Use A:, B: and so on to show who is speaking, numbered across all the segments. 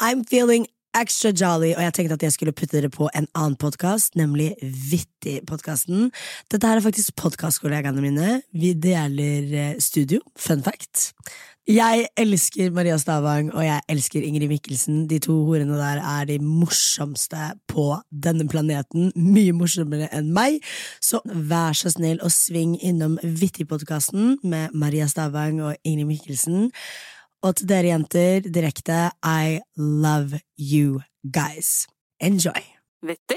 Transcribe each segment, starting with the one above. A: I'm feeling extra jolly, og jeg tenkte at jeg skulle putte dere på en annen podkast, nemlig Vittig-podkasten. Dette her er faktisk podkastkollegaene mine. Vi deler eh, studio, fun fact. Jeg elsker Maria Stavang, og jeg elsker Ingrid Mikkelsen. De to horene der er de morsomste på denne planeten. Mye morsommere enn meg. Så vær så snill og sving innom Vittig-podkasten med Maria Stavang og Ingrid Mikkelsen. Og til dere jenter direkte, I love you guys. Enjoy.
B: Vittig.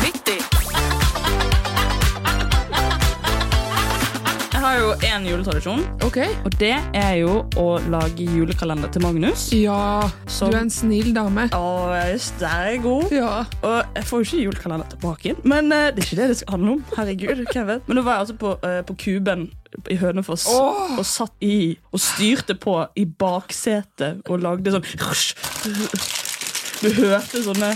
B: Vittig. Jeg har jo en juletradisjon,
C: Ok.
B: og det er jo å lage julekalender til Magnus.
C: Ja,
B: Som-
C: du er en snill dame.
B: Å, yes, der er jeg god.
C: Ja.
B: Og jeg får jo ikke julekalender tilbake igjen, men eh, det er ikke det det skal handle om. Herregud, hvem vet. Men da var jeg altså på, eh, på Kuben i Hønefoss
C: Åh!
B: og satt i og styrte på i baksetet og lagde sånn Du hørte sånne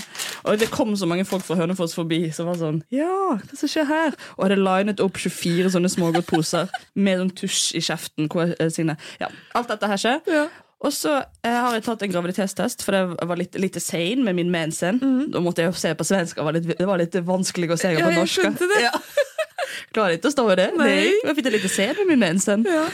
B: Og det kom så mange folk fra Hønefoss forbi som var sånn Ja, hva som skjer her? Og hadde linet opp 24 sånne smågodtposer med sånn tusj i kjeften. Hvor jeg, eh, sine. Ja, alt dette her skjer.
C: Ja.
B: Og så eh, har jeg tatt en graviditetstest, for jeg var litt, litt sein med min mensen. Da måtte jeg se på svensk, og det var litt, det var litt vanskelig å se
C: Mhm. Ja,
B: på
C: jeg
B: norsk.
C: skjønte det.
B: Ja. Klarer ikke å stå i det.
C: Nei.
B: Det gikk. Jeg fikk et lite C med min mensen.
C: Ja.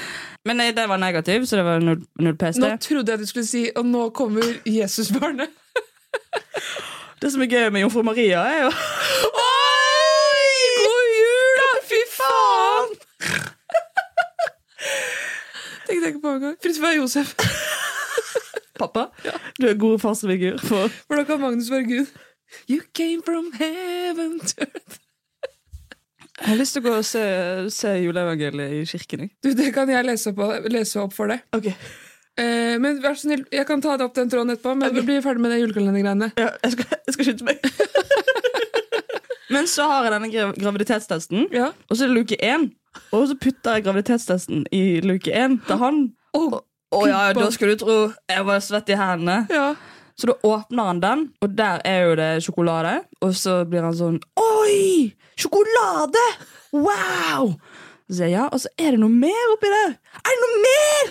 B: Men nei, den var negativ, så det var null, null pest.
C: Nå trodde jeg du skulle si Og nå kommer Jesusbarnet.
B: Det som er gøy med jomfru Maria, er jo Oi!
C: God jul, da! Fy faen! Tenkte jeg ikke på engang. Fritz fra Josef.
B: Pappa, du er god farsfigur for
C: Hvordan kan Magnus være Gud? You came from heaven to earth.
B: Jeg har lyst til å gå og se, se juleevangeliet i kirken. Jeg.
C: Du, det kan jeg lese opp, lese opp for deg. Eh, men vær så snill, jeg kan ta det opp den tråden etterpå, men vi blir ferdig med det julekalendergreiene.
B: Ja, jeg, skal, jeg skal skynde meg. Men så har jeg denne gra- graviditetstesten,
C: Ja.
B: og så er det luke én. Og så putter jeg graviditetstesten i luke én til han.
C: Å,
B: Å ja, da skulle du tro jeg var svett i hendene.
C: ja.
B: Så da åpner han den, og der er jo det sjokolade. Og så blir han sånn Oi! Sjokolade! Wow! Så sier jeg ja, og så er det noe mer oppi der. Er det noe mer?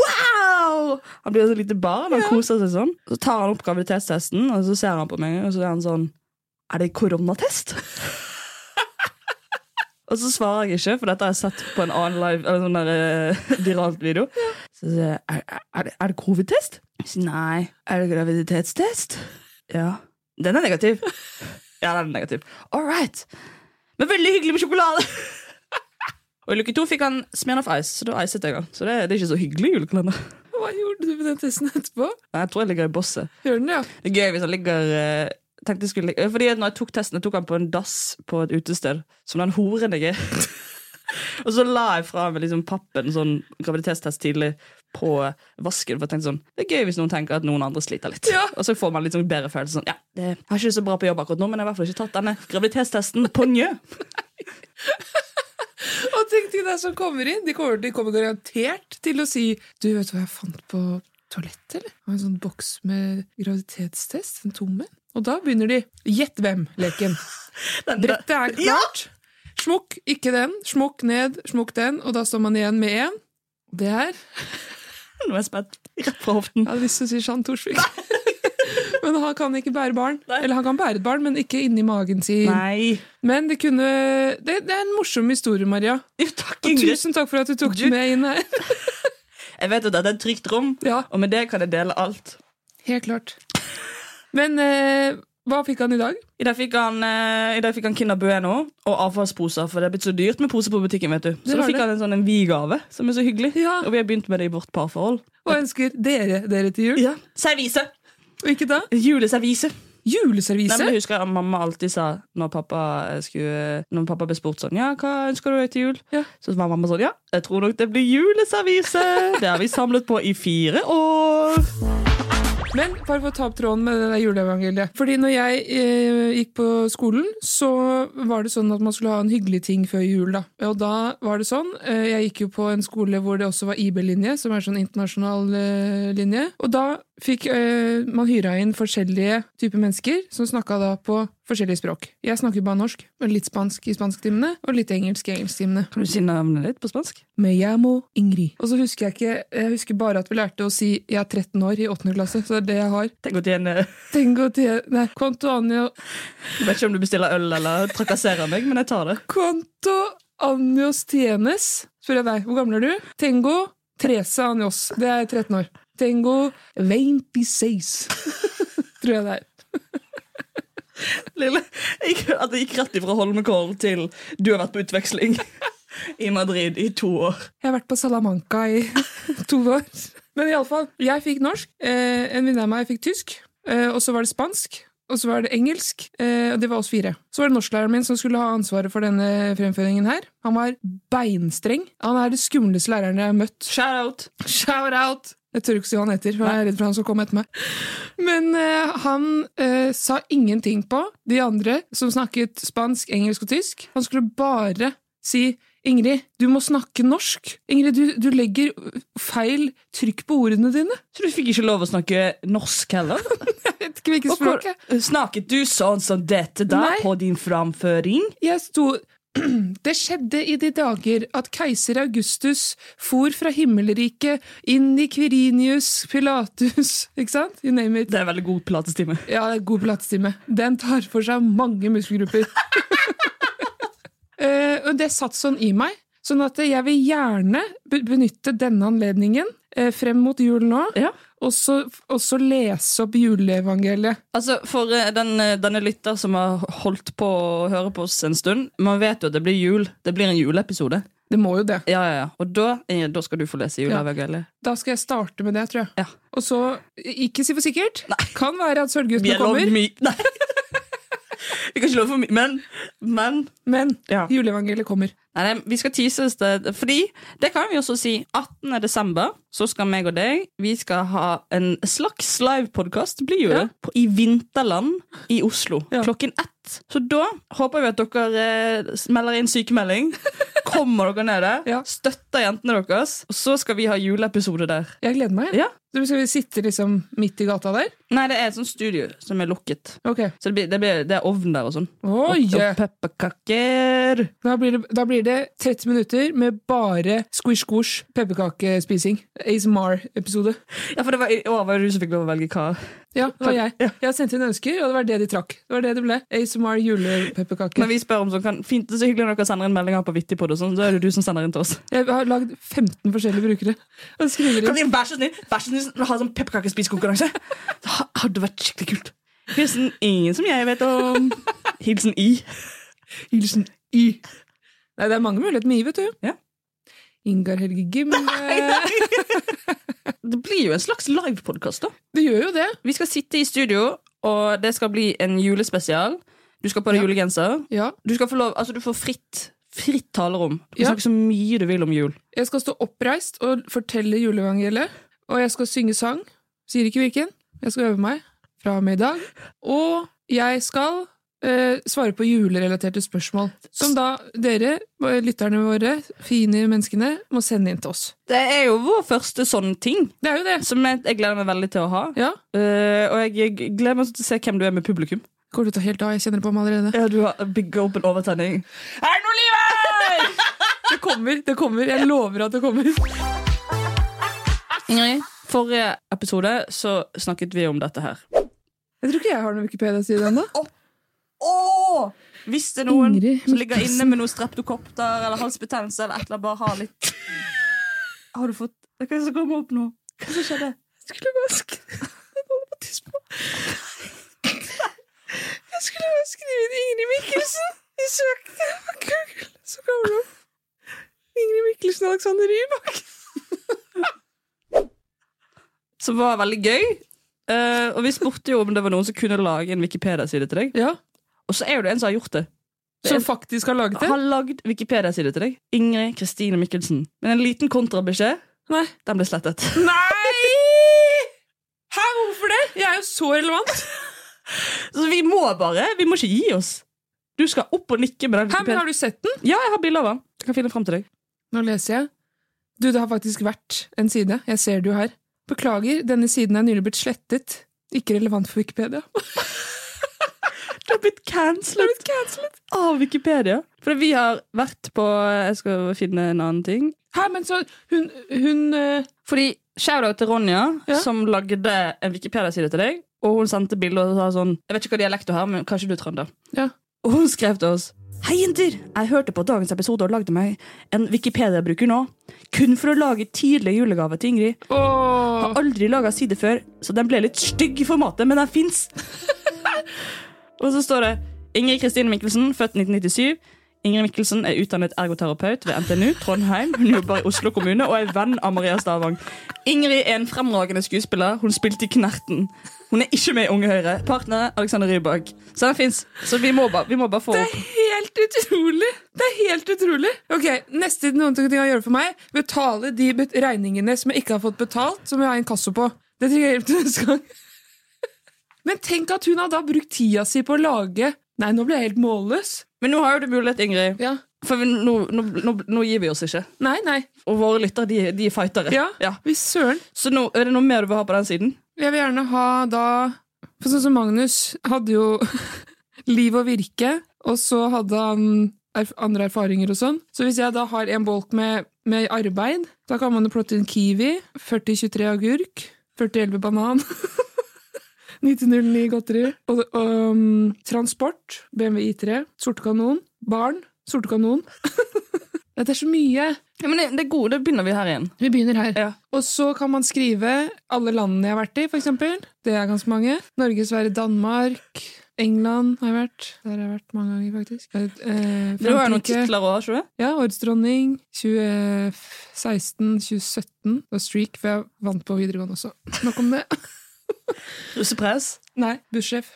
B: Wow! Han blir et lite barn, han koser seg sånn. Så tar han opp graviditetstesten, og så ser han på meg, og så er han sånn Er det koronatest? og så svarer jeg ikke, for dette har jeg sett på en annen live Eller sånn der eh, viralt video. Så sier jeg er, er, det- er det covid-test? Jeg sier, Nei. Er det graviditetstest? Ja. Den er negativ. ja, den er negativ. All right. Men veldig hyggelig med sjokolade. Og i luke to fikk han Smirnoff Ice, så da icet jeg han. Så det, det er ikke så hyggelig i julekalender.
C: Hva gjorde du med den testen etterpå?
B: Nei, jeg tror jeg ligger i bosset.
C: Gjør den det, ja?
B: Det er gøy hvis han ligger eh, tenkte jeg skulle ligge. Fordi at når jeg tok testen, jeg tok han på en dass på et utested, som den horen jeg er. og så la jeg fra meg liksom pappen sånn graviditetstest tidlig på vasken. For jeg tenkte sånn, Det er gøy hvis noen tenker at noen andre sliter litt.
C: Ja.
B: Og så får man litt sånn bedre følelse. sånn, ja, det, Jeg har ikke det så bra på jobb akkurat nå, men jeg har i hvert fall ikke tatt denne graviditetstesten på njø.
C: Og tenk til deg som kommer inn. De kommer, de kommer garantert til å si Du, vet du hva jeg fant på toalettet, eller? Det var en sånn boks med graviditetstest. En tom en. Og da begynner de Gjett hvem-leken.
B: Den-
C: Brettet er klart. Smokk, ikke den. Smokk ned, smokk den. Og da står man igjen med én. Og Det her Jeg
B: Nå er jeg spent. Rett fra hoften.
C: hadde lyst til å si Jean Thorsvik. Men han kan ikke bære barn.
B: Nei.
C: Eller han kan bære et barn, men ikke inni magen sin.
B: Nei.
C: Men det kunne det, det er en morsom historie, Maria.
B: Jo, takk,
C: Og
B: Ingrid.
C: tusen takk for at du tok
B: Du-
C: den med inn her.
B: Jeg vet at dette er et trygt rom,
C: Ja.
B: og med det kan jeg dele alt.
C: Helt klart. Men eh, hva fikk han i dag?
B: I dag fikk han, eh, i dag fikk han Kinder Bueno og avfallsposer, for det er blitt så dyrt med poser på butikken. vet du. Så
C: Det
B: da
C: har
B: fikk
C: det.
B: han en sånn en vi-gave, som er så hyggelig.
C: Ja.
B: Og vi har begynt med det i vårt parforhold.
C: Og ønsker dere dere til jul?
B: Ja. Servise!
C: Og ikke da?
B: Juleservise. Nei,
C: Juleservise?
B: men jeg husker at Mamma alltid sa når pappa, eh, skulle, når pappa ble spurt sånn Ja, hva ønsker du deg til jul?
C: Ja.
B: Så var mamma sånn Ja, jeg tror nok det blir juleservise! det har vi samlet på i fire år.
C: Men bare for å ta opp tråden med det der juleevangeliet. Fordi når jeg eh, gikk på skolen, så var det sånn at man skulle ha en hyggelig ting før jul. da. Og da var det sånn, eh, jeg gikk jo på en skole hvor det også var IB-linje, som er sånn internasjonal eh, linje. Og da fikk eh, man hyra inn forskjellige typer mennesker som snakka da på forskjellige språk. Jeg snakker bare norsk, men litt spansk i spansktimene, og litt engelsk i engelsktimene.
B: Kan du si navnet ditt på spansk?
C: Me llamo Ingrid. Og så husker jeg ikke, jeg husker bare at vi lærte å si 'jeg er 13 år' i 8. klasse, så det er det jeg har.
B: Tenk å tjene Jeg
C: Tengo te, nei, quanto año,
B: eh, vet ikke om du bestiller øl eller trakasserer meg, men jeg tar det.
C: quanto años tienes? Spør jeg deg, hvor gammel er du? Tengo 13 años, det er 13 år. Tengo 26, tror jeg det er.
B: Lille, jeg, at det gikk rett ifra Holmenkollen til du har vært på utveksling i Madrid i to år.
C: Jeg har vært på Salamanca i to år. Men iallfall, jeg fikk norsk. Eh, en venninne av meg fikk tysk. Eh, og så var det spansk. Og så var det engelsk. Eh, og det var oss fire. Så var det norsklæreren min som skulle ha ansvaret for denne fremføringen her. Han var beinstreng. Han er det skumleste læreren jeg har møtt.
B: Shout out!
C: Shout out! Jeg tør ikke si hva han heter, for jeg er redd for han skal komme etter meg. Men eh, han eh, sa ingenting på de andre som snakket spansk, engelsk og tysk. Han skulle bare si Ingrid, du må snakke norsk. Ingrid, du, du legger feil trykk på ordene dine.
B: Så du fikk ikke lov å snakke norsk heller?
C: Jeg vet ikke hvilket
B: Og hvor-
C: språk jeg
B: Snakket du sånn som dette da
C: Nei.
B: på din framføring?
C: Jeg sto Det skjedde i de dager at keiser Augustus for fra himmelriket inn i Kvirinius, Pilatus Ikke sant? You name it.
B: Det er en veldig god pilatestime.
C: Ja, det er god platestime. Den tar for seg mange muskelgrupper. Eh, og det satt sånn i meg. Sånn at jeg vil gjerne be- benytte denne anledningen eh, frem mot jul nå,
B: Ja.
C: og så, og så lese opp juleevangeliet.
B: Altså, For eh, den, eh, denne lytter som har holdt på å høre på oss en stund, man vet jo at det blir jul. Det blir en juleepisode.
C: Det må jo det.
B: Ja, ja, ja. Og da, eh, da skal du få lese juleevangeliet.
C: Da skal jeg starte med det, tror jeg.
B: Ja.
C: Og så, ikke si for sikkert, kan være
B: Vi
C: at Sølvguttene
B: er lov
C: kommer,
B: mye Nei! Vi kan ikke love for mye, men, men
C: men
B: Ja.
C: juleevangeliet kommer.
B: Nei, nei, vi skal teases det, fordi det kan vi også si. 18. desember så skal meg og deg vi skal ha en slags livepodkast, blir jo det, på, i Vinterland i Oslo
C: Ja.
B: klokken ett. Så da håper vi at dere eh, melder inn sykemelding. Kommer dere ned der,
C: Ja.
B: støtter jentene deres, og så skal vi ha juleepisode der.
C: Jeg gleder meg.
B: Ja.
C: Så skal vi sitte liksom midt i gata der?
B: Nei, det er et sånt studio som er lukket.
C: Ok.
B: Så det, blir, det, blir, det er ovn der og sånn.
C: Oi!
B: Og, og pepperkaker.
C: Da blir, det, da blir det 30 minutter med bare squish-squish pepperkakespising. ASMR-episode.
B: Ja, for det var i år var det du som fikk lov å velge hva.
C: Ja, det var jeg.
B: Ja.
C: Jeg sendte inn ønsker, og det var det de trakk. Det var det det ble. ASMR
B: Når
C: julepepperkake.
B: vi spør om sånn, kan, fint, det er så hyggelig når dere sender inn meldinger på Vittigpod, og sånn, så er det du som sender inn til oss.
C: Jeg har lagd 15 forskjellige brukere. Og skriver
B: Kan
C: inn.
B: vi vær så snill, vær så snill ha sånn pepperkakespisekonkurranse? Det ha- hadde vært skikkelig kult. Hilsen ingen som jeg vet om. Hilsen I.
C: Hilsen Y. Nei, det er mange muligheter med Y, vet du.
B: Ja.
C: Ingar Helge Gimle.
B: Det blir jo en slags livepodkast, da.
C: Det gjør jo det.
B: Vi skal sitte i studio, og det skal bli en julespesial. Du skal på deg
C: Ja.
B: julegenser.
C: Ja.
B: Du, skal få lov, altså, du får fritt, fritt talerom. Du
C: Ja.
B: kan snakke så mye du vil om jul.
C: Jeg skal stå oppreist og fortelle juleevangeliet. Og jeg skal synge sang. Sier ikke hvilken. Jeg skal øve meg fra og med i dag. Og jeg skal eh, svare på julerelaterte spørsmål. Som da dere, lytterne våre, fine menneskene, må sende inn til oss.
B: Det er jo vår første sånn ting,
C: Det er jo det.
B: som jeg, jeg gleder meg veldig til å ha.
C: Ja.
B: Eh, og jeg jeg gleder meg til å se hvem du er med publikum.
C: Går det til å ta helt av? Jeg kjenner det på meg allerede.
B: Ja, Du har big open overtenning. Er det noe liv
C: Det kommer, det kommer. Jeg lover at det kommer.
B: Ingrid, forrige episode så snakket vi om dette her.
C: Jeg tror ikke jeg har noen Wikipedia-side ennå.
B: Oh! Hvis det er noen
C: Ingrid
B: som ligger inne med noe streptokopter eller halsbetennelse eller et eller annet, bare ha litt Har du fått Hva er det som kommer opp nå? Hva som skjedde?
C: skulle bare skrive Jeg holder på å tisse på. Jeg skulle bare skrive inn Ingrid Mikkelsen i søkte på Google, så kommer det opp Ingrid Mikkelsen og Alexander Rybak.
B: Som var veldig gøy. Eh, og vi spurte jo om det var noen som kunne lage en Wikipedia-side til deg.
C: Ja,
B: Og så er jo det en som har gjort det.
C: Som faktisk har laget det?
B: har lagd Wikipedia-side til deg. Ingrid Kristine Mikkelsen. Men en liten kontrabeskjed.
C: Nei!
B: Den ble slettet.
C: Nei! Hæ, hvorfor det? Jeg er jo så relevant.
B: Så vi må bare, vi må ikke gi oss. Du skal opp og nikke med den
C: Hæ, men
B: Wikipedia.
C: Har du sett den?
B: Ja, jeg har bilde av den. Jeg kan finne frem til deg.
C: Nå leser jeg. Du, det har faktisk vært en side. Jeg ser det jo her. Beklager, denne siden er nylig blitt slettet. Ikke relevant for Wikipedia.
B: Det har blitt cancelled av Wikipedia. For vi har vært på Jeg skal finne en annen ting.
C: Hæ, men så Hun, hun eh,
B: Fordi Shout-out til Ronja,
C: Ja.
B: som lagde en Wikipedia-side til deg. Og hun sendte bilder og sa sånn Jeg vet ikke hva dialekt du har, men kanskje du er trønder.
C: Ja.
B: Og hun skrev til oss Hei jenter, jeg hørte på dagens episode og lagde meg en Wikipedia-bruker nå. Kun for å lage tidlige julegaver til Ingrid.
C: Åh.
B: Har aldri laga side før, så den ble litt stygg i formatet, men den fins. og så står det Ingrid Kristine Mikkelsen, født 1997. Ingrid Mikkelsen er utdannet ergoterapeut ved NTNU Trondheim. Hun jobber i Oslo kommune og er venn av Maria Stavang. Ingrid er en fremragende skuespiller. Hun spilte i Knerten. Hun er ikke med i Unge Høyre. Partnere Alexander Rybak. Så den fins. Så vi må bare, vi må bare få opp.
C: Helt utrolig! Det er helt utrolig. Ok, Neste noen ting jeg gjør for meg, betale de bet- regningene som jeg ikke har fått betalt, som jeg har inkasso på. Det trenger jeg hjelp til neste gang. Men tenk at hun har da brukt tida si på å lage Nei, nå ble jeg helt målløs.
B: Men nå har jo du mulighet, Ingrid.
C: Ja.
B: For vi, nå, nå, nå, nå gir vi oss ikke.
C: Nei, nei.
B: Og våre lyttere, de, de er fightere.
C: Ja,
B: Ja.
C: Hvis søren.
B: Så nå, er det noe mer du vil ha på den siden?
C: Jeg vil gjerne ha da For sånn som Magnus hadde jo liv og virke, og så hadde han erf andre erfaringer og sånn. Så hvis jeg da har en bolk med, med arbeid, da kan man jo plotte inn kiwi, 4023 agurk, 4011 banan, 9009 godteri, og, og um, transport, BMW I3, sorte kanon, barn, sorte kanon. Det er så mye.
B: Ja, men det, det er god, da begynner vi her igjen.
C: Vi begynner her.
B: Ja.
C: Og så kan man skrive alle landene jeg har vært i, for eksempel. Det er ganske mange. Norge, Sverige, Danmark, England har jeg vært. Der har jeg vært mange ganger, faktisk. Eh, eh,
B: Du har jo noen
C: Frankrike.
B: titler òg, ikke du?
C: Ja, Årets dronning 2016, 2017 og Streak, for jeg vant på videregående også. Nok om det.
B: Russepress.
C: Nei, bussjef.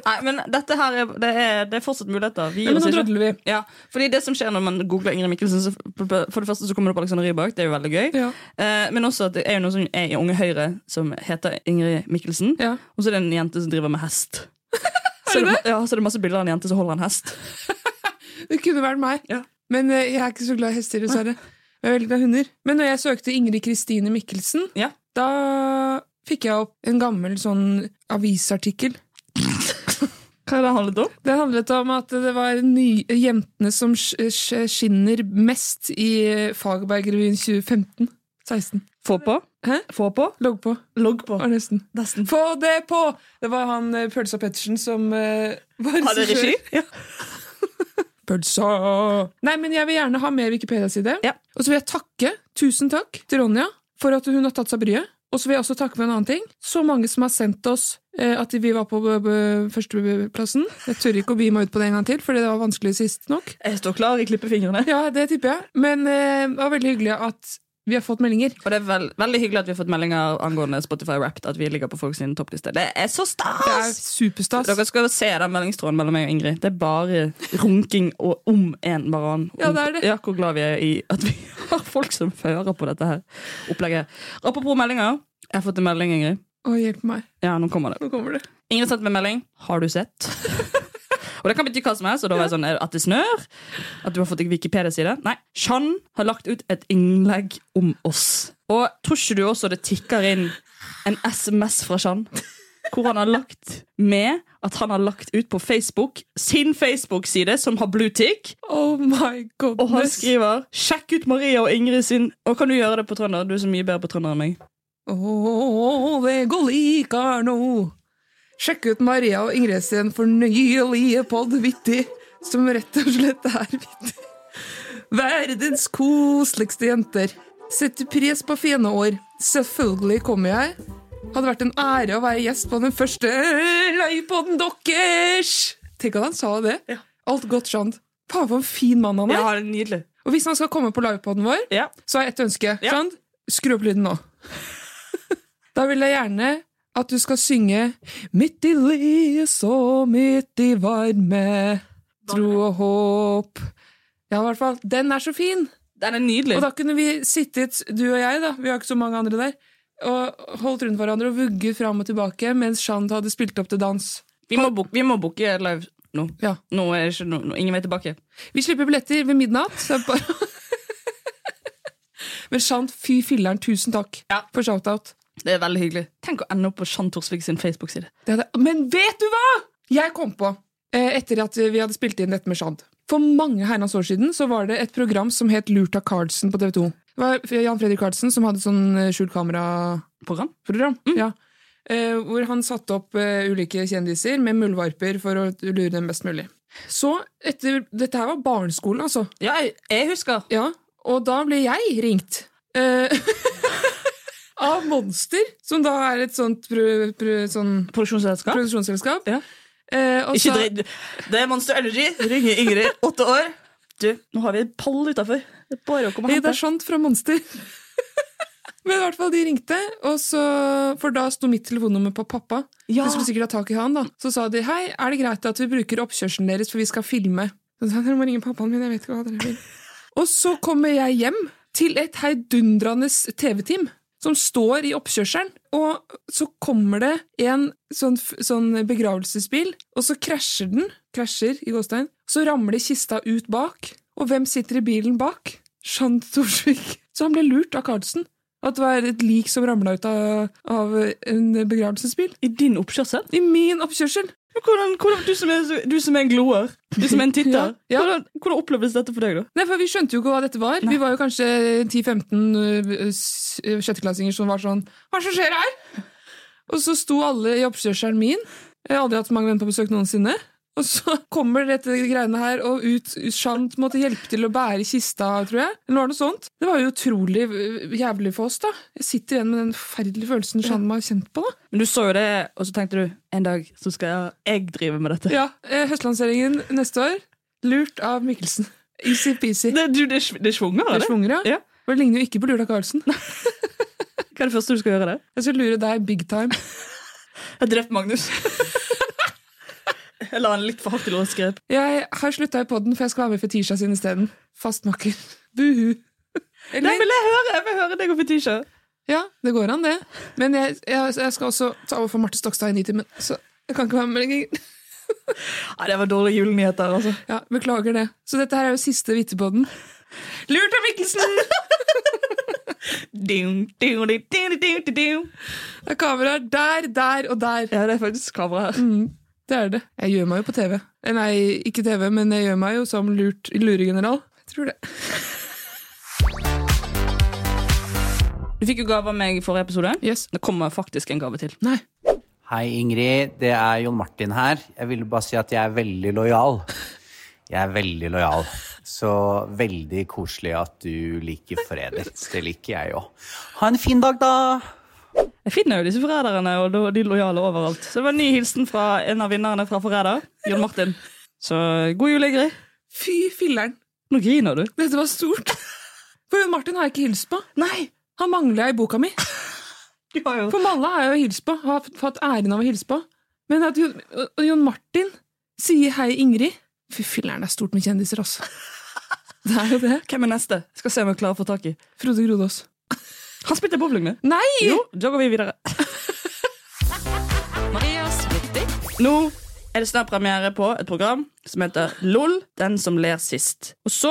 B: Nei, men dette her er, det er, det er fortsatt muligheter. Vi gir
C: Nei, Men
B: oss
C: nå
B: ikke.
C: drodler vi.
B: Ja, fordi det som skjer når man googler Ingrid Mikkelsen, så for det første så kommer det opp Alexander Rybak. Det er jo veldig gøy.
C: Ja.
B: Eh, men også at det er jo noe som er i Unge Høyre som heter Ingrid Mikkelsen.
C: ja.
B: Og så er det en jente som driver med hest. Så
C: Er det
B: ma- Ja, så er det masse bilder av en jente som holder en hest.
C: Det kunne vært meg.
B: Ja.
C: Men eh, jeg er ikke så glad i hester, dessverre. Jeg er veldig glad i hunder. Men når jeg søkte Ingrid Kristine Mikkelsen,
B: Ja.
C: da fikk jeg opp en gammel sånn avisartikkel.
B: Hva er det handlet om?
C: Det handlet om at det var ny, jentene som sk- sk- skinner mest i eh, Fagerbergrevyen 2015. 16.
B: Få på.
C: Hæ?
B: Få på.
C: Logg på,
B: Logg på.
C: var nesten.
B: Nesten.
C: Få det på! Det var han eh, Pølsa Pettersen som eh, var
B: Hadde regi? Ja.
C: Pølsa! Nei, men jeg vil gjerne ha mer Wikipedia-side.
B: Ja.
C: Og så vil jeg takke, tusen takk, til Ronja for at hun har tatt seg bryet. Og så vil jeg også takke for en annen ting. Så mange som har sendt oss eh, at vi var på b- b- førsteplassen. Jeg tør ikke å bi meg ut på det en gang til, fordi det var vanskelig sist nok.
B: Jeg står klar, jeg klipper fingrene.
C: Ja, det tipper jeg. Men eh, det var veldig hyggelig at vi har fått meldinger.
B: Og det er vel- veldig hyggelig at vi har fått meldinger angående Spotify Wrapped. At vi ligger på folk sin toppliste. Det er så
C: Det er
B: stas!
C: superstas.
B: Dere skal jo se den meldingstråden mellom meg og Ingrid. Det er bare runking og om en baran. Om-
C: Ja, det er det.
B: Ja, hvor glad vi er i at vi har folk som fører på dette her opplegget. Apropos meldinger. Jeg har fått en melding, Ingrid.
C: Å, hjelp meg.
B: Ja, nå kommer det.
C: Nå kommer det.
B: Ingrid sendte meg en melding. Har du sett? Og det kan bety hva som helst. Og da var jeg sånn, er- At det snør? At du har fått en Wikipedia-side? Nei. Chan har lagt ut et innlegg om oss. Og tror ikke du også det tikker inn en SMS fra Chan? Hvor han har lagt med at han har lagt ut på Facebook sin Facebook-side, som har blue tick.
C: Oh my
B: Og han
C: goodness.
B: skriver 'Sjekk ut Maria og Ingrid sin' Og kan du gjøre det på trønder? Du er så mye bedre på trønder enn meg.
C: Å, det går likar nå. Sjekk ut Maria og Ingrid sin fornøyelige podd Vittig, som rett og slett er vittig. Verdens koseligste jenter. Setter pris på fine år. Selvfølgelig kommer jeg. Hadde vært en ære å være gjest på den første livepodden deres! Tenk at han sa det.
B: Ja.
C: Alt godt skjønt. Faen, for en fin mann han er.
B: Ja, det er nydelig.
C: Og hvis han skal komme på livepodden vår,
B: Ja.
C: så har jeg ett ønske.
B: Ja.
C: Skjønt? Skru opp lyden nå. da vil jeg gjerne at du skal synge Midt i lys og midt i varme, tro og håp. Ja, i hvert fall. Den er så fin!
B: Den er nydelig.
C: Og da kunne vi sittet, du og jeg, da, vi har ikke så mange andre der, og holdt rundt hverandre og vugget fram og tilbake mens Shant hadde spilt opp til dans.
B: Vi må book- vi må booke live nå.
C: Ja.
B: Nå er det ikke no, no, ingen vei tilbake.
C: Vi slipper billetter ved midnatt. Så det er bare... Men Shant, fy filleren, tusen takk for shoutout.
B: Det er veldig hyggelig. Tenk å ende opp på Shan Torsvik sin Facebook-side.
C: Det hadde, men vet du hva?! Jeg kom på, eh, etter at vi hadde spilt inn dette med Shant. For mange herrens år siden så var det et program som het Lurt av Carlsen på TV 2. Det var Jan Fredrik Carlsen som hadde sånn eh, skjult kamera-program.
B: Program.
C: Ja. Eh, hvor han satte opp eh, ulike kjendiser med muldvarper for å lure dem best mulig. Så etter Dette her var barneskolen, altså.
B: Ja, jeg, jeg husker.
C: Ja, og da ble jeg ringt. Eh, av Monster, som da er et sånt, pro, pro, sånn
B: Produksjonsselskap.
C: produksjonsselskap.
B: Ja.
C: Eh, og
B: Ikke
C: sa-
B: dritt. Det er Monster Energy. Ringer Ingrid, åtte år. Du, nå har vi en pall utafor. Det er bare å komme og
C: Hei, det
B: hente.
C: er sant fra Monster. Men i hvert fall, de ringte, og så, for da sto mitt telefonnummer på pappa.
B: Ja.
C: Jeg skulle sikkert ha tak i han, da. Så sa de hei, er det greit at vi bruker oppkjørselen deres, for vi skal filme. Så sa han, dere må ringe pappaen min, jeg vet ikke hva dere vil. Og så kommer jeg hjem til et heidundrende TV-team som står i oppkjørselen, og så kommer det en sånn, f- sånn begravelsesbil, og så krasjer den, krasjer i gåstein, så ramler kista ut bak, og hvem sitter i bilen bak? Jean Torsvik. Så han ble lurt av Carlsen, at det var et lik som ramlet ut av, av en begravelsesbil.
B: I din oppkjørsel?
C: I min oppkjørsel!
B: Men Hvordan, hvordan, du, som er, så- du som er en gloer, du som er en titter,
C: Ja, ja.
B: Hvordan, hvordan opplevdes dette for deg, da?
C: Nei, for Vi skjønte jo ikke hva dette var. Vi var jo kanskje 10-15 ø, s- ø, sjetteklassinger som var sånn Hva er det som skjer her?! Og så sto alle i oppkjørselen min. Jeg har aldri hatt så mange venner på besøk noensinne. Og så kommer dette greiene her, og ut Shant måtte hjelpe til å bære kista, tror jeg. Eller var det noe sånt? Det var jo utrolig ø, jævlig for oss, da. Jeg sitter igjen med den forferdelige følelsen Shant må ha kjent på, da.
B: Men du så jo det, og så tenkte du en dag så skal jeg drive med dette.
C: Ja, ø, Høstlanseringen neste år. Lurt av Mikkelsen. Easy-peasy.
B: Det, du, det, det svunger,
C: Det
B: eller?
C: svunger,
B: Ja.
C: ja. Og Det ligner jo ikke på Lula Karlsen.
B: Hva er det første du skal gjøre? der?
C: Jeg skal lure deg big time.
B: Jeg har drept Magnus. jeg la han litt for hardt til å skrepe.
C: Jeg har slutta i podden, for jeg skal være med Fetisha sin isteden. Fastmakker. Buhu.
B: Nei,
C: Eller,
B: men jeg, hører, jeg vil høre deg og Fetisha.
C: ja, det går an, det. Men jeg, jeg, jeg skal også ta over for Marte Stokstad i Nitimen, så jeg kan ikke være med lenger.
B: Nei, det var dårlige julenyheter, altså.
C: Ja, Beklager det. Så dette her er jo siste Vittepodden. Lurt av Mikkelsen!
B: Ding, ding, ding, ding, ding, ding, ding.
C: Det er kameraer der, der og der.
B: Ja, det er faktisk kamera her.
C: Mm, det er det. Jeg gjør meg jo på TV. Eh, Nei, ikke TV, men jeg gjør meg jo som lurt luregeneral. Jeg tror det.
B: Du fikk jo gave av meg i forrige episode.
C: Yes.
B: Det kommer faktisk en gave til.
C: Nei.
D: Hei, Ingrid. Det er Jon Martin her. Jeg ville bare si at jeg er veldig lojal. Jeg er veldig lojal. Så veldig koselig at du liker Forræder. Det liker jeg òg. Ha en fin dag, da!
B: Jeg finner jo disse forræderne og lo- de lojale overalt. Så det var en ny hilsen fra en av vinnerne fra Forræder, Jon Martin. Så god jul, Ingrid.
C: Fy filleren.
B: Nå griner du.
C: Dette var stort. For Jon Martin har jeg ikke hilst på.
B: Nei!
C: Han mangler jeg i boka mi.
B: Du har jo
C: For Malla har jeg jo hilst på. Har f- fått æren av å hilse på. Men at Jon, og Jon Martin sier hei, Ingrid Fy filler'n, det er stort med kjendiser, altså. Det er jo det.
B: Hvem er neste? Skal se om jeg klarer å få tak i.
C: Frode Grodås.
B: Han spilte bowling med.
C: Nei!
B: Jo, da går vi videre. Nå er det snart premiere på et program som heter LOL, den som ler sist. Og så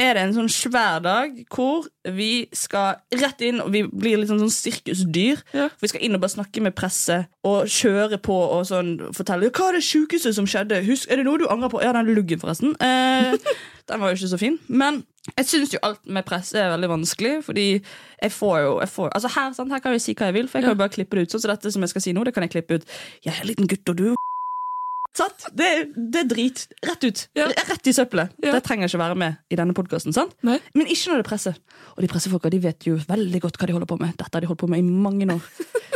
B: er det en sånn svær dag hvor vi skal rett inn, og vi blir litt sånn, sånn sirkusdyr.
C: Ja.
B: For Vi skal inn og bare snakke med presse og kjøre på og sånn, fortelle hva er det sjukeste som skjedde. Husk, er det noe du angrer på? Ja, den luggen, forresten. Eh, den var jo ikke så fin. Men jeg syns jo alt med presse er veldig vanskelig, fordi jeg får jo jeg får, Altså her, sant, her kan jeg si hva jeg vil, for jeg kan jo bare klippe det ut. Sånn som dette som jeg skal si nå, det kan jeg klippe ut. Jeg er en liten gutt, og du er Sant? Det, det er drit. Rett ut.
C: Ja.
B: Rett i søppelet.
C: Ja.
B: Det trenger ikke være med i denne podkasten.
C: Nei.
B: Men ikke når det er presse. Og de pressefolka de vet jo veldig godt hva de holder på med. Dette har de holdt på med i mange år.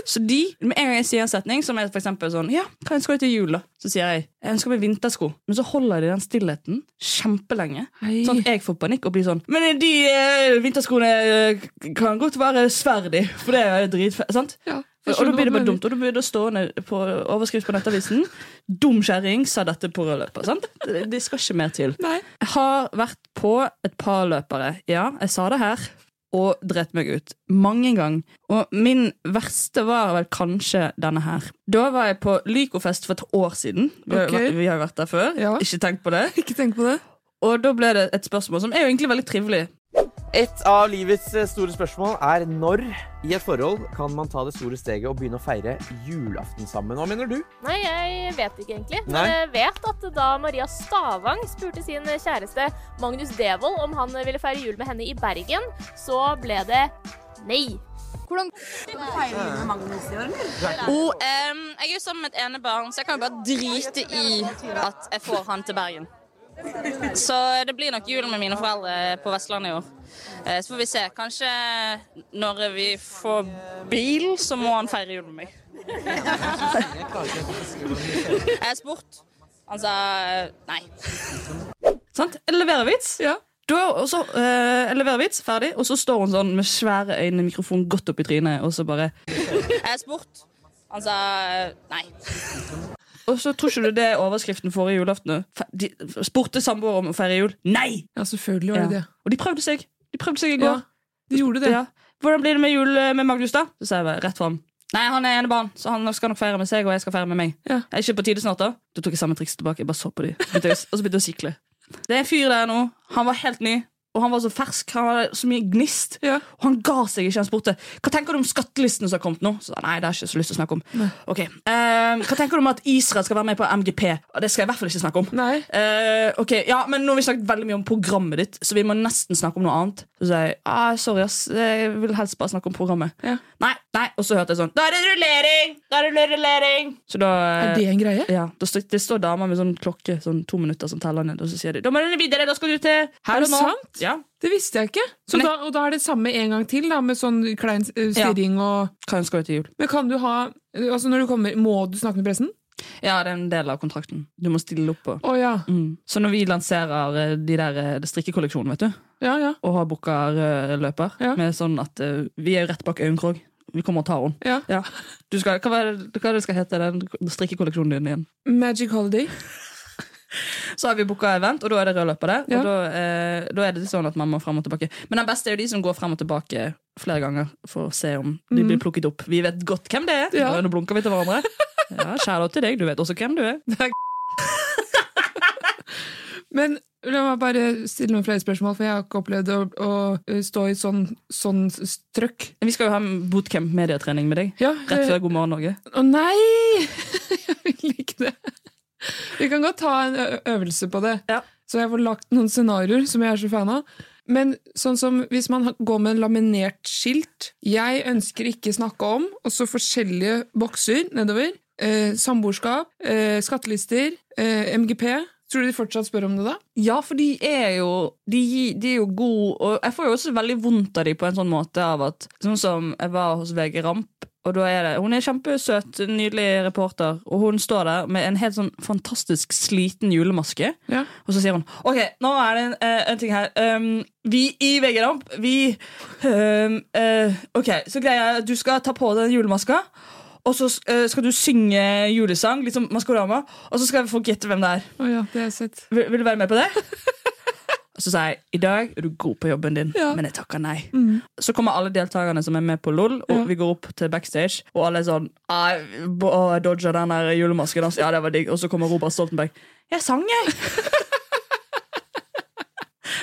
B: Så de, med en gang jeg sier en setning som er for eksempel sånn Ja, hva ønsker du til jul, da? Så sier jeg jeg ønsker meg vintersko. Men så holder de den stillheten kjempelenge.
C: Hei.
B: Sånn at jeg får panikk og blir sånn Men de eh, vinterskoene eh, kan godt være sverdig, for det er dritfett. Sant?
C: Ja, jeg
B: og da
C: skjønner
B: blir det
C: hva
B: bare
C: du
B: dumt. Og da blir det stående på overskrift på Nettavisen 'Dum kjerring sa dette på rødløper'. Sant? Det, det skal ikke mer til.
C: Nei.
B: Jeg har vært på et par løpere. Ja, jeg sa det her. Og dreit meg ut. Mange ganger. Og min verste var vel kanskje denne her. Da var jeg på Lycofest for et år siden. Vi, har, jo
C: Ok.
B: vært- vi har jo vært der før.
C: Ja.
B: Ikke tenkt på det.
C: Ikke tenk på det.
B: Og da ble det et spørsmål som er jo egentlig veldig trivelig.
E: Et av livets eh, store spørsmål er når i et forhold kan man ta det store steget og begynne å feire julaften sammen. Hva mener du?
F: Nei, jeg vet ikke egentlig. Men
E: Nei.
F: jeg vet at da Maria Stavang spurte sin kjæreste Magnus Devold om han ville feire jul med henne i Bergen, så ble det nei.
G: Oh, em, jeg er jo sammen med et enebarn, så jeg kan jo bare drite i at jeg får han til Bergen. Så det blir nok jul med mine foreldre på Vestlandet i år. Eh, Så får vi se. Kanskje når vi får bil, så må han feire jul med meg. Jeg spurte. Han sa eh, nei.
B: Sant? Jeg leverer vits.
C: Ja.
B: Da, og så, eh, jeg leverer vits, ferdig, og så står hun sånn med svære øyne, mikrofonen godt opp i trynet, og så bare
G: Jeg spurte. Han sa nei.
B: Og så tror ikke du det er overskriften forrige julaften? nå? Fe- De spurte samboere om å feire jul. Nei!
C: Ja, selvfølgelig var det det.
B: Og de prøvde seg. De prøvde seg i
C: Ja,
B: går.
C: de gjorde det.
B: Ja. Hvordan blir det med jul eh, med Magnus, da? Så sa jeg bare rett fram. Nei, han er enebarn, så han skal nok feire med seg, og jeg skal feire med meg.
C: Ja.
B: Er ikke på tide snart, da? Da tok jeg samme triks tilbake. Jeg bare så på de. Begynte jeg- Og så begynte jeg å sikle. Det er en fyr der nå. Han var helt ny. Og han var så fersk. Han hadde så mye gnist.
C: Ja.
B: Og han ga seg ikke. Han spurte hva tenker du om skattelisten som har kommet nå. Så, sa jeg, nei, det har jeg ikke så lyst til å snakke om. Ok, eh, Hva tenker du om at Israel skal være med på MGP? Og Det skal jeg i hvert fall ikke snakke om.
C: Nei.
B: Eh, ok, ja, men Nå har vi snakket veldig mye om programmet ditt, så vi må nesten snakke om noe annet. Så sa jeg ah, sorry, ass. Jeg vil helst bare snakke om programmet.
C: Ja.
B: Nei, nei, Og så hørte jeg sånn Da er det rullering! Da er det rullering! Så da eh,
C: Er det en greie?
B: ja, da står, Det står damer med sånn klokke Sånn to minutter som teller ned, og så sier de Da må du videre, da skal du til her
C: Er
B: og
C: det
B: nå.
C: sant?
B: Ja,
C: Det visste jeg ikke. Så
B: Nei.
C: da, og da er det samme en gang til, da, med sånn klein eh,
B: Ja.
C: stirring og
B: Hva ønsker du til jul?
C: Men kan du ha eh, Altså, når du kommer Må du snakke med pressen?
B: Ja, det er en del av kontrakten. Du må stille opp på.
C: Å ja.
B: Mm. Så når vi lanserer eh, de der eh, strikkekolleksjonen, vet du,
C: Ja, ja.
B: og har booka rød løper,
C: Ja.
B: med sånn at eh, vi er jo rett bak Øyenkrog. Vi kommer og tar henne.
C: ja.
B: Ja. Du skal, hva, er det- hva er det skal hete den strikkekolleksjonen din igjen?
C: Magic holiday.
B: Så har vi booka event, og da er det rød løper der.
C: Ja.
B: Og da, eh, da er det sånn at man må frem og tilbake. Men den beste er jo de som går frem og tilbake flere ganger for å se om de blir plukket opp. Vi vet godt hvem det er.
C: Mm. Ja.
B: Nå blunker vi til hverandre. Ja, Kjære til deg, du vet også hvem du er.
C: Men la meg bare stille noen flere spørsmål, for jeg har ikke opplevd å, å eh, stå i sånn, sånn s- trøkk.
B: Vi skal jo ha bootcamp medietrening med deg.
C: Ja,
B: Rett
C: eh,
B: før God morgen Norge.
C: Å nei! Jeg vil ikke det. Vi kan godt ta en ø- øvelse på det.
B: Ja.
C: Så jeg får lagt noen scenarioer som jeg er så fan av. Men sånn som hvis man ha- går med en laminert skilt 'Jeg ønsker ikke snakke om', og så forskjellige bokser nedover. Eh, samboerskap, eh, skattelister, eh, MGP. Tror du de fortsatt spør om det da?
B: Ja, for de er jo de, gi- de er jo gode, og jeg får jo også veldig vondt av dem på en sånn måte av at Sånn som jeg var hos VG Ramp, og da er det Hun er kjempesøt, nydelig reporter, og hun står der med en helt sånn fantastisk sliten julemaske,
C: Ja.
B: og så sier hun OK, nå er det en, eh, en ting her. Um, vi i VG Ramp, vi um, eh, OK, så greier jeg at du skal ta på deg den julemaska. Og så eh, skal du synge julesang, litt som Maskorama. Og så skal folk gjette hvem det er.
C: Å ja, det har jeg sett.
B: Vil, vil du være med på det? Og så sa jeg i dag er du god på jobben din,
C: Ja. Mm.
B: men jeg takker nei. Så kommer alle deltakerne som er med på LOL, og vi går opp til backstage. Og alle er sånn «Ai, bo- å, Jeg dodga den der julemasken. hans. Ja, det var digg. Og så kommer Robert Stoltenberg. Jeg sang, jeg!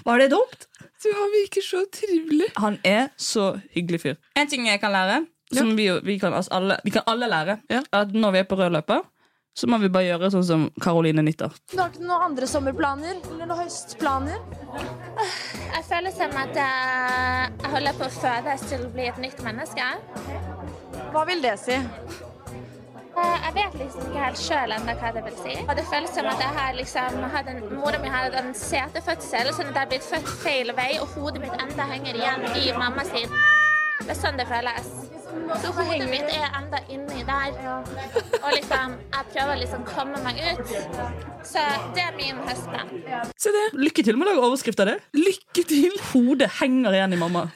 B: var det dumt?
C: Du, han virker så trivelig.
B: Han er så hyggelig fyr. En ting jeg kan lære, som vi, jo- vi, kan, altså alle, vi kan alle lære,
C: Ja.
B: er at når vi er på rød løper, så må vi bare gjøre sånn som Caroline Nitter.
H: Du har ikke noen andre sommerplaner eller noen høstplaner?
F: Jeg føler som at jeg holder på å fødes til å bli et nytt menneske.
H: Hva vil det si?
F: Eh, Jeg vet liksom ikke helt sjøl ennå hva det vil si. Og det føles som at jeg har liksom hatt en Mora mi hadde en setefødsel, sånn at jeg har blitt født feil vei, og hodet mitt enda henger igjen i mamma sin. Det er sånn det føles. Så hodet mitt er enda inni der. Og liksom, jeg prøver liksom å komme meg ut. Så det er min høstplan.
C: Se det.
B: Lykke til med å lage overskrift av det.
C: Lykke til!
B: Hodet henger igjen i mamma.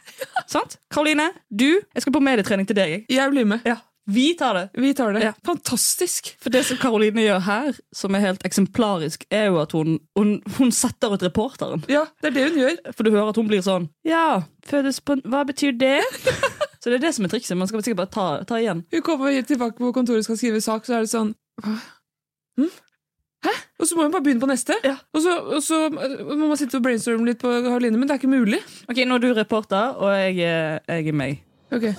B: Sant? Karoline, du, jeg skal på medietrening til deg. jeg.
C: Jeg blir med.
B: Ja, Vi tar det.
C: Vi tar det.
B: Ja.
C: Fantastisk!
B: For det som Karoline gjør her, som er helt eksemplarisk, er jo at hun, hun, hun setter ut reporteren.
C: Ja, det er det hun gjør.
B: For du hører at hun blir sånn Ja, fødes på en- Hva betyr det? Så det er det som er trikset. Man skal sikkert bare ta, ta igjen.
C: Hun kommer tilbake på kontoret og skal skrive sak, så er det sånn Hva? Hm? Og så må man bare begynne på neste.
B: Ja.
C: Og, så, og så øh, må man sitte og brainstorme litt på Karoline, men det er ikke mulig.
B: Ok, Nå er du reporter, og jeg, er- jeg er meg.
C: Ok.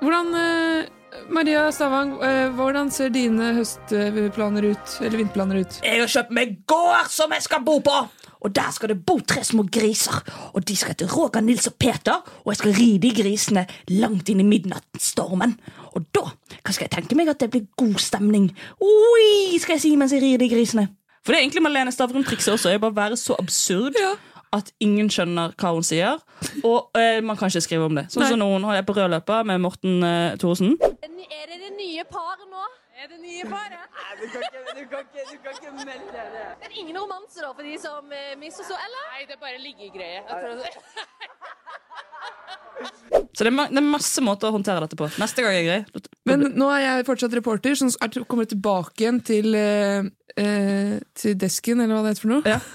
C: Hvordan, eh, Maria Stavang, eh, hvordan ser dine høstplaner ut? Eller vinterplaner ut?
B: Jeg har kjøpt meg gård som jeg skal bo på! Og der skal det bo tre små griser. Og de skal hete Roger, Nils og Peter. Og jeg skal ri de grisene langt inn i midnattsstormen. Og da hva skal jeg tenke meg at det blir god stemning. Oi, skal jeg si mens jeg rir de grisene. For det er egentlig Malene Stavrum-trikset også. Jeg bare være så absurd. At ingen skjønner hva hun sier. Og eh, man kan ikke skrive om det. Sånn som nå har jeg på rødløpa med Morten eh, Thorsen.
H: Er det det nye paret nå? Er det nye paret? du, kan ikke, melde det. Det er ingen romanser da, for de som eh, misforstår, eller? Nei, det er bare liggegreie.
B: Så det er, ma det er masse måter å håndtere dette på. Neste gang jeg greier.
C: Men nå er jeg fortsatt reporter, så er- kommer jeg tilbake igjen til, eh, eh, til desken, eller hva det heter for noe.
B: Ja.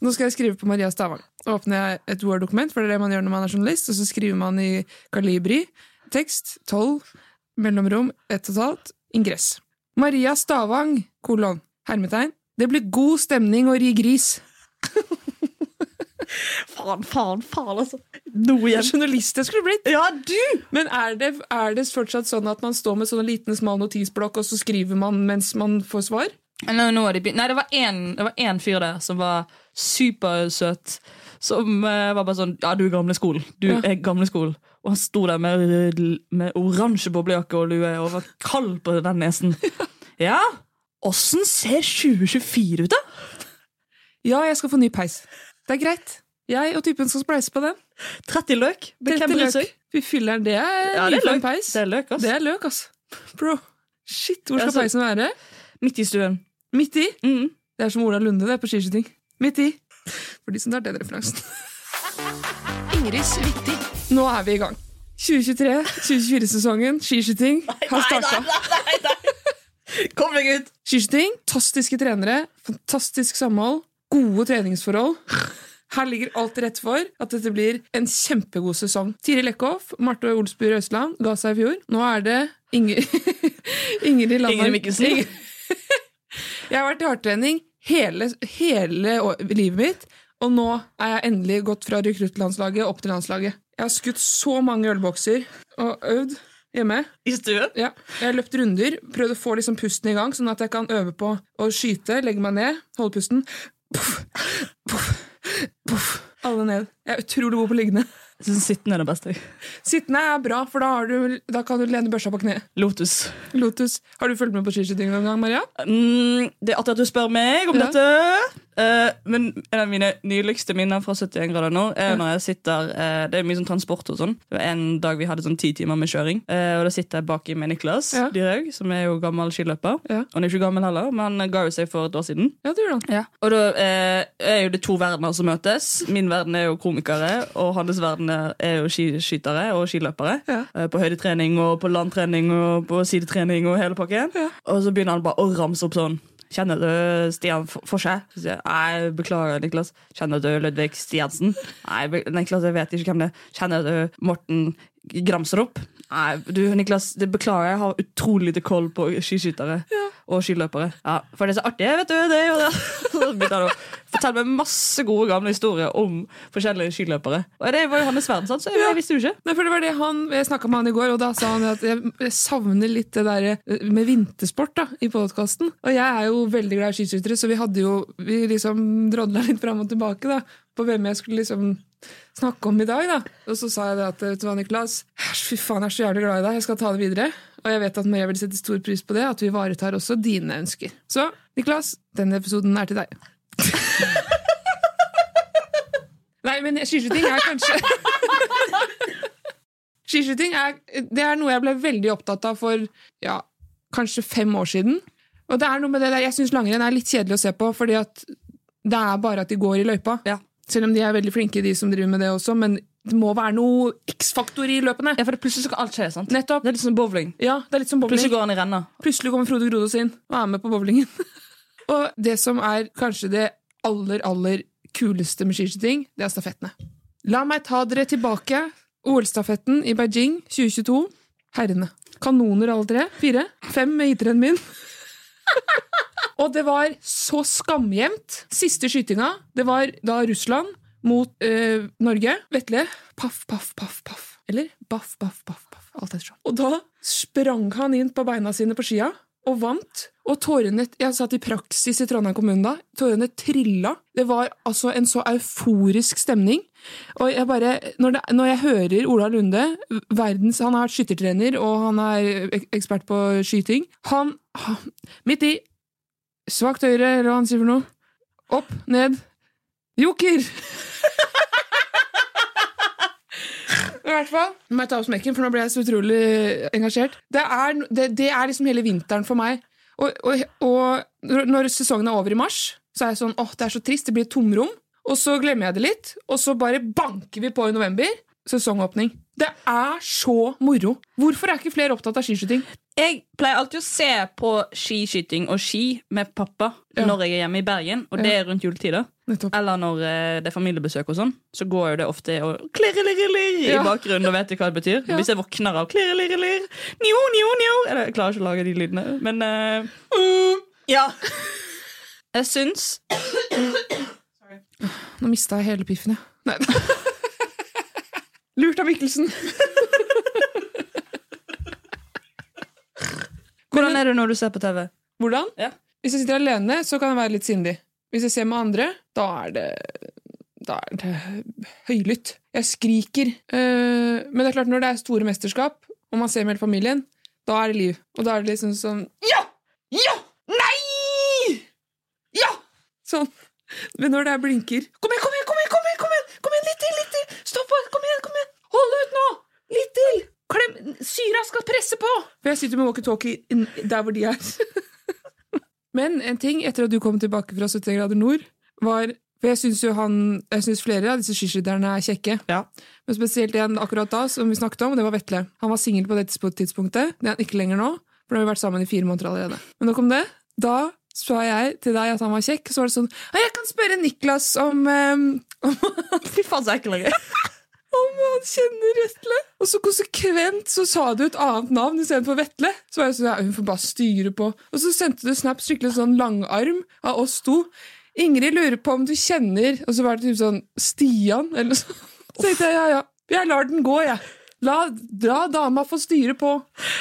C: Nå skal jeg skrive på Maria Stavang. Så åpner jeg et Word-dokument, for det er det man gjør når man er journalist, og så skriver man i kalibri, tekst, 12, mellomrom, ett og et halvt, ingress. Maria Stavang, kolon, hermetegn, det blir god stemning å ri gris.
B: Faen, faen, faen, altså. Nå igjen.
C: Journalist jeg skulle blitt.
B: Ja, du!
C: Men er det, er det fortsatt sånn at man står med sånn liten, smal notisblokk, og så skriver man mens man får svar?
B: Nå, nå er de begynt. Nei, det var en, det var en fyr der som var supersøt. Som eh, var bare sånn Ja, du er gamle skolen. Du
C: Ja.
B: er gamle skolen. Og han sto der med, rød- med oransje boblejakke og lue og var kald på den nesen. Ja? Åssen ser 2024 ut, da?
C: Ja, jeg skal få ny peis. Det er greit. Jeg og typen skal spleise på den.
B: 30 løk? Men
C: Telte
B: Hvem bryr
C: løk.
B: seg?
C: Fy filler, det er
B: Ja, det er
C: en
B: løk.
C: peis.
B: Det er løk, ass.
C: Det er løk, ass. Bro. Shit, hvor skal
B: Altså-
C: peisen være?
B: Midt i stuen.
C: Midt i.
B: Mm.
C: Det er som Ola Lunde, det, er på skiskyting. Midt i. For de som tar den referansen. Nå er vi i gang. 2023-2024-sesongen, skiskyting, har starta.
B: Kom deg ut!
C: Skiskyting, fantastiske trenere, fantastisk samhold, gode treningsforhold. Her ligger alt til rette for at dette blir en kjempegod sesong. Tiril Eckhoff, Marte Olsby Røsland ga seg i fjor. Nå er det Inger... Ingrid Landmark
B: Ingrid Mikkelsen.
C: Jeg har vært i hardtrening hele, hele å- livet mitt, og nå er jeg endelig gått fra rekruttlandslaget opp til landslaget. Jeg har skutt så mange ølbokser og øvd hjemme.
B: I stuen.
C: Ja. Jeg har løpt runder, prøvd å få liksom pusten i gang, sånn at jeg kan øve på å skyte, legge meg ned, holde pusten. Puff, puff, puff. Alle ned. Jeg er utrolig god på liggende.
B: Jeg synes sittende er det beste.
C: Sittende er bra, for da, har du, da kan du lene børsa på kneet.
B: Lotus.
C: Lotus. Har du fulgt med på skiskyting noen gang, Maria?
B: Mm, det er artig at du spør meg om
C: Ja.
B: dette. Eh, men en av mine nydeligste minner fra 71 grader nord er når jeg sitter eh, Det er mye sånn transport og sånn. Det var en dag vi hadde sånn ti timer med kjøring. eh, og da sitter jeg baki med Niklas
C: Ja.
B: Dyrhaug, som er jo gammel skiløper.
C: Ja.
B: Han er jo ikke gammel heller, men han ga jo seg for et år siden.
C: Ja, det gjorde han.
B: Og da eh, er jo det to verdener som møtes. Min verden er jo komikere, og hans verden er- er jo skiskytere og skiløpere.
C: Ja.
B: Eh, på høydetrening og på landtrening og på sidetrening og hele pakken.
C: Ja.
B: Og så begynner han bare å ramse opp sånn. Kjenner du Stian F- Forse? Så sier jeg, Nei, beklager, Niklas. Kjenner du Ludvig Stiansen? Nei, be- Niklas, jeg vet ikke hvem det er. Kjenner du Morten Gramsrop? Nei, du, Niklas, det beklager, jeg har utrolig lite koll på skiskyttere og skiløpere. Ja, for det er så artig, vet du. Det, og det. Så begynte han å fortelle meg masse gode gamle historier om forskjellige skiløpere. Og det var jo hans verden, sant? så jeg, jeg visste jo ikke.
C: Nei, for det var det han, Jeg snakka med han i går, og da sa han at jeg, jeg savner litt det der eh, med vintersport da, i podkasten. Og jeg er jo veldig glad i skiskyttere, så vi hadde jo, vi liksom drodla litt fram og tilbake da, på hvem jeg skulle liksom snakke om i dag. da. Og så sa jeg det at vet du hva, Niklas, fy faen, jeg er så jævlig glad i deg, jeg skal ta det videre. Og jeg vet at Maria vil sette stor pris på det, at vi ivaretar også dine ønsker. Så Niklas, denne episoden er til deg. Nei, men skiskyting er kanskje Skiskyting er, det er noe jeg ble veldig opptatt av for ja, kanskje fem år siden. Og det er noe med det der, Jeg syns langrenn er litt kjedelig å se på, fordi at det er bare at de går i løypa.
B: Ja.
C: Selv om de er veldig flinke, de som driver med det også, men det må være noe X-faktor i løpene.
B: Ja, for det plutselig skal alt skje, sant?
C: Nettopp.
B: Det er litt
G: sånn
B: som bowling.
C: Ja, det er litt som bowling.
B: Plutselig går han i renna.
C: Plutselig kommer Frode Grodås inn og er med på bowlingen. og det som er kanskje det aller, aller kuleste med skiskyting, det er stafettene. La meg ta dere tilbake. OL-stafetten i Beijing 2022. Herrene. Kanoner alle tre. Fire. Fem med gitteren min. Og det var så skamjevnt. Siste skytinga, det var da Russland mot eh, Norge. Vetle. Paff, paff, paff, paff. Eller baff, baff, baff. paff. Alt ettersom. Og da sprang han inn på beina sine på skia og vant. Og tårene Jeg satt i praksis i Trondheim kommune da. Tårene trilla. Det var altså en så euforisk stemning. Og jeg bare, når, det, når jeg hører Ola Lunde verdens, Han er skyttertrener og han er ek- ekspert på skyting. Han, han Midt i Svakt høyre, eller hva han sier for noe. Opp, ned. Joker! I hvert fall. Nå må jeg ta opp smekken, for nå ble jeg så utrolig engasjert. Det er, det, det er liksom hele vinteren for meg. Og, og, og når- når sesongen er over i mars, så er jeg sånn åh, det er så trist, det blir et tomrom. Og så glemmer jeg det litt, og så bare banker vi på i november. Sesongåpning. Det er så moro! Hvorfor er ikke flere opptatt av skiskyting?
G: Jeg pleier alltid å se på skiskyting og ski med pappa
C: Ja.
G: når jeg er hjemme i Bergen, og det er rundt juletider.
C: Nettopp.
G: Eller når eh, det er familiebesøk og sånn, så går jo det ofte og klirrelirrelir i
C: Ja.
G: bakgrunnen, og vet du hva det betyr? Hvis jeg våkner av klirrelirrelir, njo, njo, njo Eller, Jeg klarer ikke å lage de lydene, men eh, mm, Ja. Jeg syns
C: Nå mista jeg hele piffen, jeg. Nei. Lurt av Mikkelsen.
G: Hvordan er det når du ser på TV?
C: Hvordan?
G: Ja.
C: Hvis jeg sitter alene, så kan jeg være litt sindig. Hvis jeg ser med andre, da er det da er det høylytt. Jeg skriker. Eh, men det er klart, når det er store mesterskap, og man ser med hele familien, da er det liv. Og da er det liksom sånn Ja! Ja! Nei! Ja! Sånn. Men når det er blinker Kom igjen, kom igjen, kom igjen! Kom igjen, kom igjen, kom igjen litt til! litt til Stopp! Kom igjen! kom igjen Hold ut nå! Litt til! Klem! Syra skal presse på! For jeg sitter med walkietalkie inn- der hvor de er. Men en ting etter at du kom tilbake fra 70 grader nord, var For jeg syns jo han Jeg synes flere av disse skiskytterne er kjekke. Men spesielt en akkurat da, som vi snakket om, det var Vetle. Han var singel på det tidspo- tidspunktet. Det er han ikke lenger nå, for nå har vi vært sammen i fire måneder allerede. Men nok om det. Da sa jeg til deg at han var kjekk, så var det sånn «Ja, Jeg kan spørre Niklas om, eh, om
G: Fy faen, så ekkel jeg er.
C: om han kjenner Vetle. Og så konsekvent så sa du et annet navn istedenfor Vetle. Så var jeg sånn, ja, hun får bare styre på. Og så sendte du snap skikkelig sånn langarm av oss to. Ingrid lurer på om du kjenner Og så var det typ sånn Stian, eller noe sånt. Så tenkte jeg ja, ja. Jeg lar den gå, jeg. La, la dama få styre på.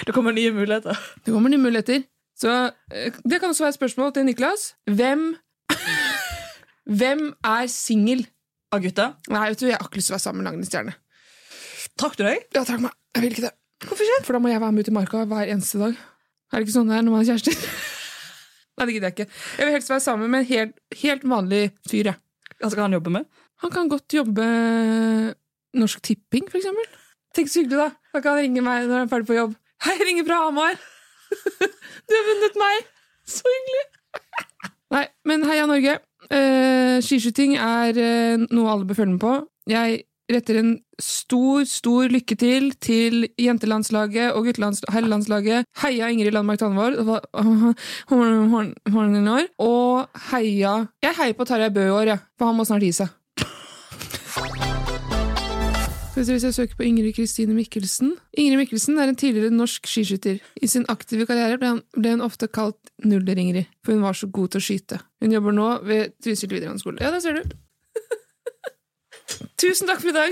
G: Det kommer nye muligheter.
C: Det kommer nye muligheter. Så eh, det kan også være et spørsmål til Niklas. Hvem Hvem er singel?
G: Ah, gutta,
C: Nei, vet du, jeg har ikke lyst til å være sammen med Langrennsstjerne.
G: trakk du deg?
C: Ja, takk meg. Jeg vil ikke det. Hvorfor ikke? For da må jeg være med ut i marka hver eneste dag. Er det ikke sånn det er når man er kjærester? Nei, det gidder jeg ikke. Jeg vil helst være sammen med en helt, helt vanlig fyr, jeg.
G: Hva skal han jobbe med?
C: Han kan godt jobbe eh, Norsk Tipping, for eksempel. Tenk så hyggelig, da. Da kan han ringe meg når han er ferdig på jobb. Hei, jeg ringer fra Hamar! Du har vunnet meg! Så hyggelig! Nei, men heia Norge. Eh, skiskyting er eh, noe alle bør følge med på. Jeg retter en stor, stor lykke til til jentelandslaget og guttelandslaget. Heia Ingrid Landmark Tandvold. Og hva- horn- horn- horn i år. Og heia Jeg heier på Tarjei Bø i år, jeg. For han må snart gi seg. Skal vi se Hvis jeg søker på Ingrid Kristine Mikkelsen Ingrid Mikkelsen er en tidligere norsk skiskytter. I sin aktive karriere ble, han, ble hun ofte kalt Nuller-Ingrid, for hun var så god til å skyte. Hun jobber nå ved Trysil videregående skole. Ja, der ser du. Tusen takk for i dag!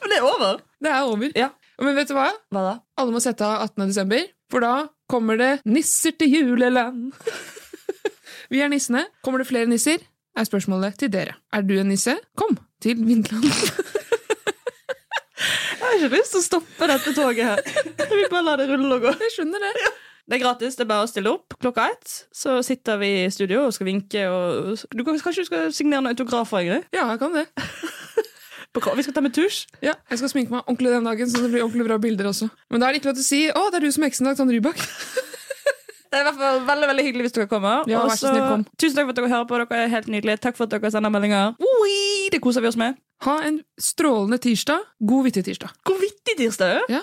G: Men det er over.
C: Det er over.
G: Ja.
C: Men vet du hva?
G: Hva da?
C: Alle må sette av 18. desember, for da kommer det nisser til juleland. Vi er nissene. Kommer det flere nisser? Er spørsmålet til dere. Er du en nisse? Kom til Vinland.
G: Jeg har ikke lyst til å stoppe dette toget her. Jeg vil bare la det rulle og gå.
C: Jeg skjønner det.
G: Det er gratis, det er bare å stille opp. Klokka ett så sitter vi i studio og skal vinke. Og du kan, kanskje du skal signere noen autografer? Ingrid?
C: Ja, jeg kan det.
G: På kra- Vi skal ta med tusj.
C: Ja, jeg skal sminke meg ordentlig den dagen, så det blir ordentlig bra bilder også. Men da er det ikke lov til å si 'Å, det er du som er heksen i dag, Tanne Rybak'.
G: Det er i hvert fall veldig veldig hyggelig hvis dere kommer.
C: Ja,
G: Og
C: vær så
G: så-
C: snill, kom.
G: Tusen takk for at dere hører på. Dere er helt nydelige. Takk for at dere sender meldinger. Oi, det koser vi oss med.
C: Ha en strålende tirsdag. God vittig tirsdag.
G: Hvor vittig tirsdag er.
C: Ja.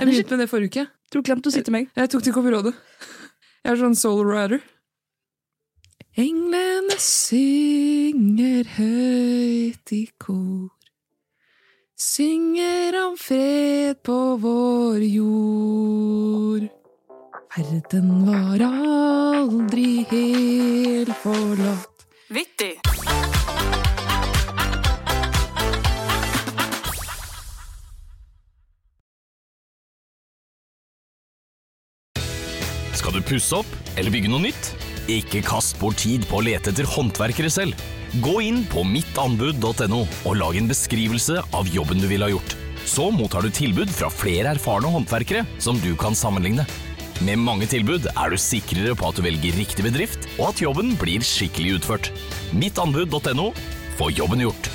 C: Jeg
G: Den er
C: begynte med det forrige uke.
G: Du glemte å si til meg.
C: Jeg tok til Copyrådet. Jeg er sånn soul rider. Englene synger høyt i kor. Synger om fred på vår jord. Verden var aldri helt forlatt.
I: Vittig.
J: Skal du pusse opp eller bygge noe nytt? Ikke kast bort tid på å lete etter håndverkere selv. Gå inn på mittanbud.no og lag en beskrivelse av jobben du vil ha gjort. Så mottar du tilbud fra flere erfarne håndverkere som du kan sammenligne. Med mange tilbud er du sikrere på at du velger riktig bedrift, og at jobben blir skikkelig utført. Mittanbud.no. Få jobben gjort.